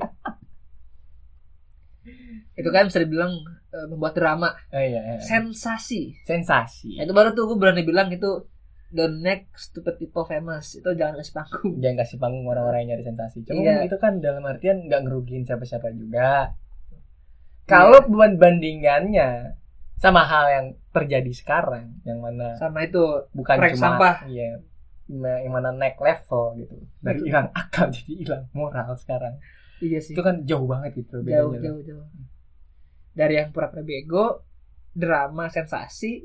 A: itu kan bisa dibilang eh, membuat drama
B: Oh iya. iya.
A: sensasi
B: Sensasi.
A: Nah, itu baru tuh gue berani bilang itu the next stupid people famous itu jangan kasih panggung
B: Jangan kasih panggung orang-orang yang nyari sensasi. Cuma
A: Iya.
B: itu kan dalam artian nggak ngerugiin siapa-siapa juga. Kalau
A: Iya.
B: buat bandingannya sama hal yang terjadi sekarang, yang mana
A: sama itu
B: bukan
A: Prank
B: cuma
A: sampah.
B: iya, ma- yang mana naik level gitu dari
A: Betul.
B: hilang akal jadi hilang moral sekarang
A: iya sih
B: itu kan jauh banget gitu
A: jauh
B: bedanya.
A: jauh jauh dari yang pura-pura bego drama sensasi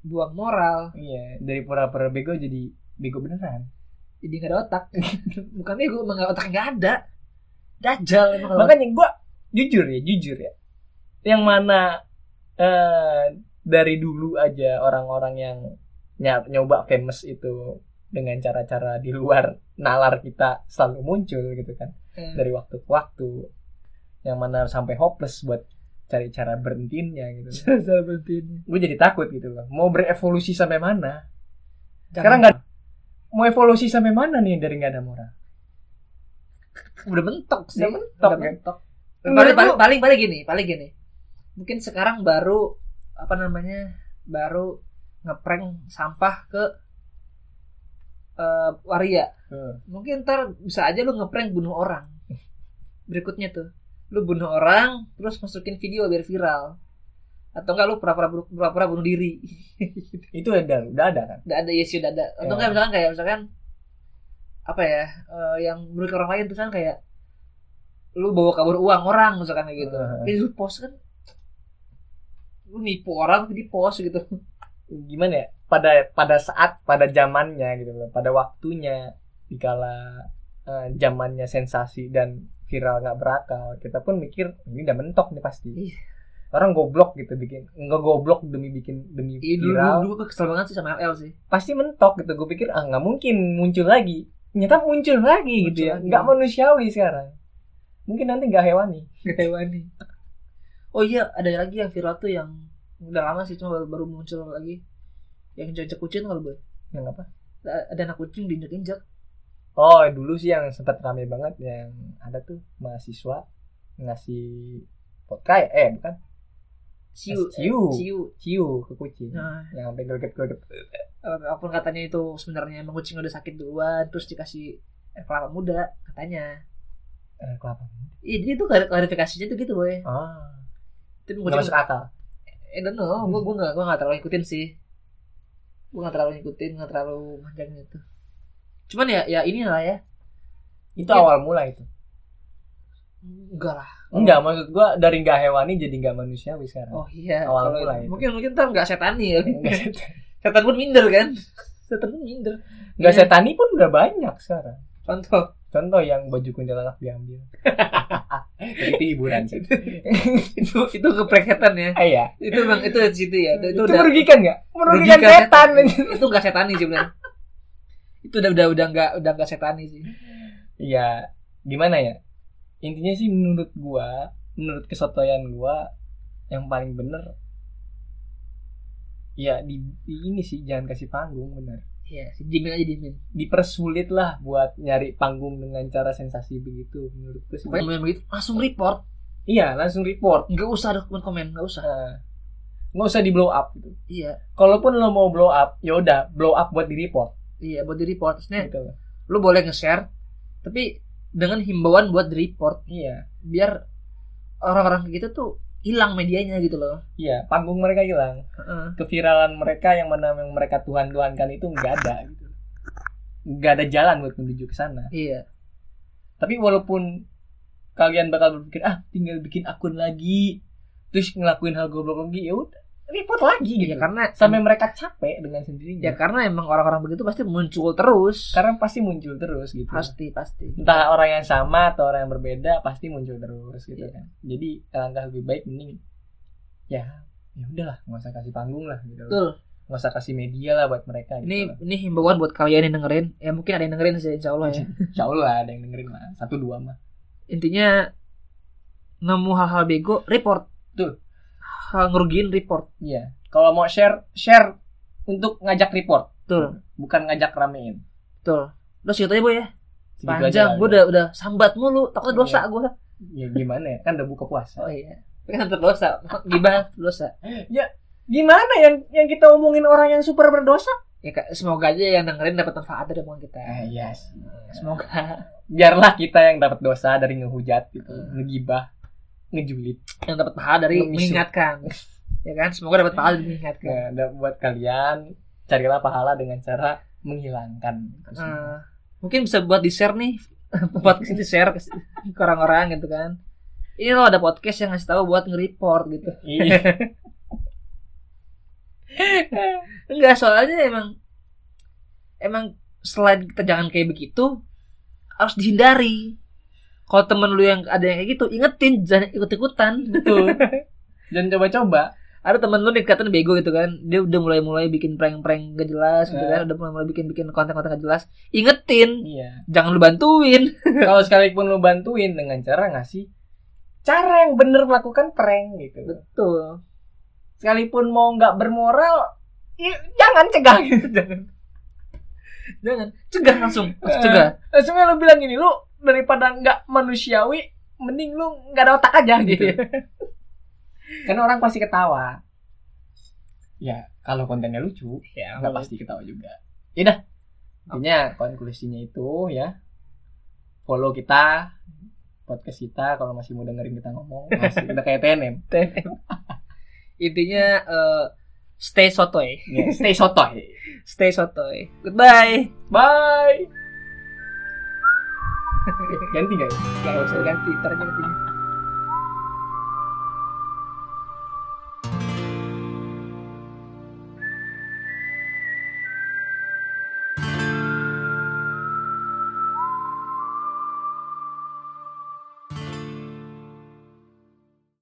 A: buang moral
B: Iya, dari pura-pura bego jadi bego beneran.
A: jadi nggak ada otak bukan bego emang nggak otak nggak ada dajal emang kalau
B: Makanya gua jujur ya, jujur ya. Yang mana eh dari dulu aja orang-orang yang ny- nyoba famous itu dengan cara-cara di luar nalar kita selalu muncul gitu kan.
A: Eh,
B: Dari waktu ke waktu. Yang mana sampai hopeless buat cari cara berhentinnya gitu.
A: dajal berarti ini.
B: Gue jadi takut gitu loh. Mau berevolusi sampai mana?
A: Jangan.
B: Sekarang nggak mau evolusi sampai mana nih dari nggak ada moral?
A: udah mentok sih
B: Udah mentok,
A: Udah
B: kan?
A: mentok. paling,
B: Menurut
A: paling,
B: lu-
A: paling paling gini paling gini mungkin sekarang baru apa namanya baru ngeprank sampah ke eh, waria
B: Hmm.
A: mungkin ntar bisa aja lu ngeprank bunuh orang berikutnya tuh lu bunuh orang terus masukin video biar viral atau enggak lu pura-pura pura-pura bunuh diri
B: Itu ada, udah ada kan?
A: udah ada yes udah ada atau enggak
B: Ya.
A: misalkan kayak misalkan apa ya eh, yang merugikan orang lain misalkan kayak lu bawa kabur uang orang misalkan kayak gitu
B: Heeh.
A: Ini lu post kan lu nipu orang tapi di post gitu
B: gimana ya pada pada saat pada zamannya gitu loh pada waktunya dikala eh, zamannya sensasi dan viral nggak berakal kita pun mikir ini udah mentok nih pasti
A: Iya.
B: orang goblok gitu bikin nggak goblok demi bikin demi
A: Iya dulu,
B: viral
A: dulu gue kesel banget sih sama LL sih
B: pasti mentok gitu gue pikir ah nggak mungkin muncul lagi ternyata muncul lagi
A: Muncul
B: gitu ya
A: lagi.
B: nggak manusiawi sekarang mungkin nanti nggak hewani
A: hewani oh iya ada lagi yang viral tuh yang udah lama sih cuma baru, baru muncul lagi yang injek kucing kalau gue
B: yang Ya, apa
A: ada anak kucing diinjek injek
B: oh dulu sih yang sempat rame banget yang ada tuh mahasiswa ngasih vodka ya? eh bukan
A: ciu eh,
B: Ciu.
A: ciu
B: ciu ke kucing
A: nah eh,
B: yang sampai greget-greget
A: apapun katanya itu sebenarnya emang kucing udah sakit duluan terus dikasih air kelapa muda katanya
B: eh, kelapa
A: iya jadi itu klari- klarifikasinya tuh gitu boy
B: ah
A: tapi
B: nggak
A: kucing
B: masuk akal
A: I don't know gue gue nggak gue nggak terlalu ikutin sih gue nggak terlalu ikutin nggak terlalu panjang itu cuman ya ya inilah ya
B: itu
A: Iya.
B: awal mula itu
A: enggak lah
B: enggak maksud gua dari nggak hewani jadi nggak manusiawi sekarang
A: oh iya
B: Awal
A: Kalau-
B: mula itu.
A: mungkin mungkin ntar nggak setani ya
B: Nggak
A: setan pun minder kan setan pun minder
B: nggak
A: Iya.
B: setani pun udah banyak sekarang
A: contoh
B: contoh yang baju kuntilanak diambil Jadi itu hiburan sih
A: itu itu ngeprank setan ya
B: ah, iya.
A: itu bang itu di situ ya itu,
B: itu,
A: itu udah
B: merugikan nggak merugikan,
A: Merugikan
B: setan
A: itu nggak setani sih bener itu udah udah udah nggak udah nggak setani sih
B: iya gimana ya intinya sih menurut gua menurut kesotoyan gua yang paling bener ya di, di ini sih jangan kasih panggung bener
A: Iya, si dimin aja dimin
B: dipersulit lah buat nyari panggung dengan cara sensasi begitu menurutku sih.
A: pokoknya begitu langsung report
B: Iya, langsung report.
A: nggak usah ada komen komen nggak usah
B: Nah, nggak usah di blow up gitu.
A: iya
B: Kalaupun lo mau blow up, ya udah blow up buat di report.
A: iya buat di report maksudnya
B: Gitu.
A: lu boleh nge-share tapi dengan himbauan buat di report
B: Iya,
A: biar orang-orang kayak gitu tuh hilang medianya gitu loh
B: iya. Panggung mereka hilang.
A: Heeh.
B: Keviralan mereka yang mana yang mereka tuhan tuhankan itu nggak ada. Gitu. Nggak ada jalan buat menuju ke sana.
A: iya
B: Tapi walaupun kalian bakal berpikir ah tinggal bikin akun lagi, terus ngelakuin hal goblok lagi, ya udah report lagi gitu.
A: iya karena
B: Sampai mereka capek
A: ya
B: dengan sendirinya.
A: karena emang orang-orang begitu pasti muncul terus
B: Karena pasti muncul terus gitu.
A: pasti pasti
B: entah orang yang sama atau orang yang berbeda pasti muncul terus gitu
A: Iya.
B: kan jadi langkah lebih baik mending ya ya udahlah nggak usah kasih panggung lah gitu
A: betul
B: nggak usah kasih media lah buat mereka gitu
A: ini
B: lah.
A: ini himbauan buat kalian yang dengerin ya mungkin ada yang dengerin sih insya Allah ya
B: insya Allah ada yang dengerin lah satu dua mah
A: intinya nemu hal-hal bego report
B: Betul.
A: hal ngerugiin report
B: iya kalau mau share share untuk ngajak report
A: betul
B: bukan ngajak ramein
A: betul terus ceritanya bu ya
B: Segitu Gitu aja
A: panjang
B: lah, ya.
A: gue udah udah sambat mulu takutnya dosa
B: Iya.
A: gue
B: ya gimana ya kan udah buka puasa
A: oh iya Tapi kan tetap dosa gibah dosa
B: gimana yang yang kita omongin orang yang super berdosa
A: ya Kak, semoga aja yang dengerin dapat manfaat dari omongan kita
B: ah yes
A: semoga
B: biarlah kita yang dapat dosa dari ngehujat gitu
A: Hmm.
B: ngegibah ngejulit
A: yang dapat pahala dari
B: Ngemisuk.
A: mengingatkan ya kan semoga dapat pahala dari mengingatkan
B: Nah, ada buat kalian carilah pahala dengan cara menghilangkan. itu semua.
A: Eh, mungkin bisa buat di share nih podcast di share ke ke orang-orang gitu kan ini lo ada podcast yang ngasih tahu buat nge-report gitu
B: Iya.
A: enggak soalnya emang emang selain kita jangan kayak begitu harus dihindari kalau temen lu yang ada yang kayak gitu ingetin jangan ikut ikutan
B: Betul. Dan coba-coba.
A: ada temen lu nih katanya bego gitu kan dia udah mulai mulai bikin prank-prank gak jelas gitu kan
B: Nah.
A: udah mulai mulai bikin bikin konten-konten gak jelas ingetin
B: Iya.
A: jangan lu bantuin
B: Kalau sekalipun lu bantuin dengan cara ngasih cara yang bener melakukan prank gitu.
A: betul
B: Sekalipun mau nggak bermoral, i- jangan cegah gitu. Jangan.
A: jangan cegah langsung
B: Eh.
A: langsung cegah
B: Langsungnya lu bilang gini, lu daripada nggak manusiawi, mending lu nggak ada otak aja gitu. Karena orang pasti ketawa. Ya, kalau kontennya lucu,
A: ya
B: nggak pasti ketawa juga. Yaudah, intinya konklusinya itu ya follow kita podcast kita kalau masih mau dengerin kita ngomong masih udah kayak TNM
A: intinya eh, stay sotoy
B: Ya, stay sotoy
A: stay sotoy goodbye
B: bye ganti guys ya?
A: Gak usah ganti, ntar aja gantinya.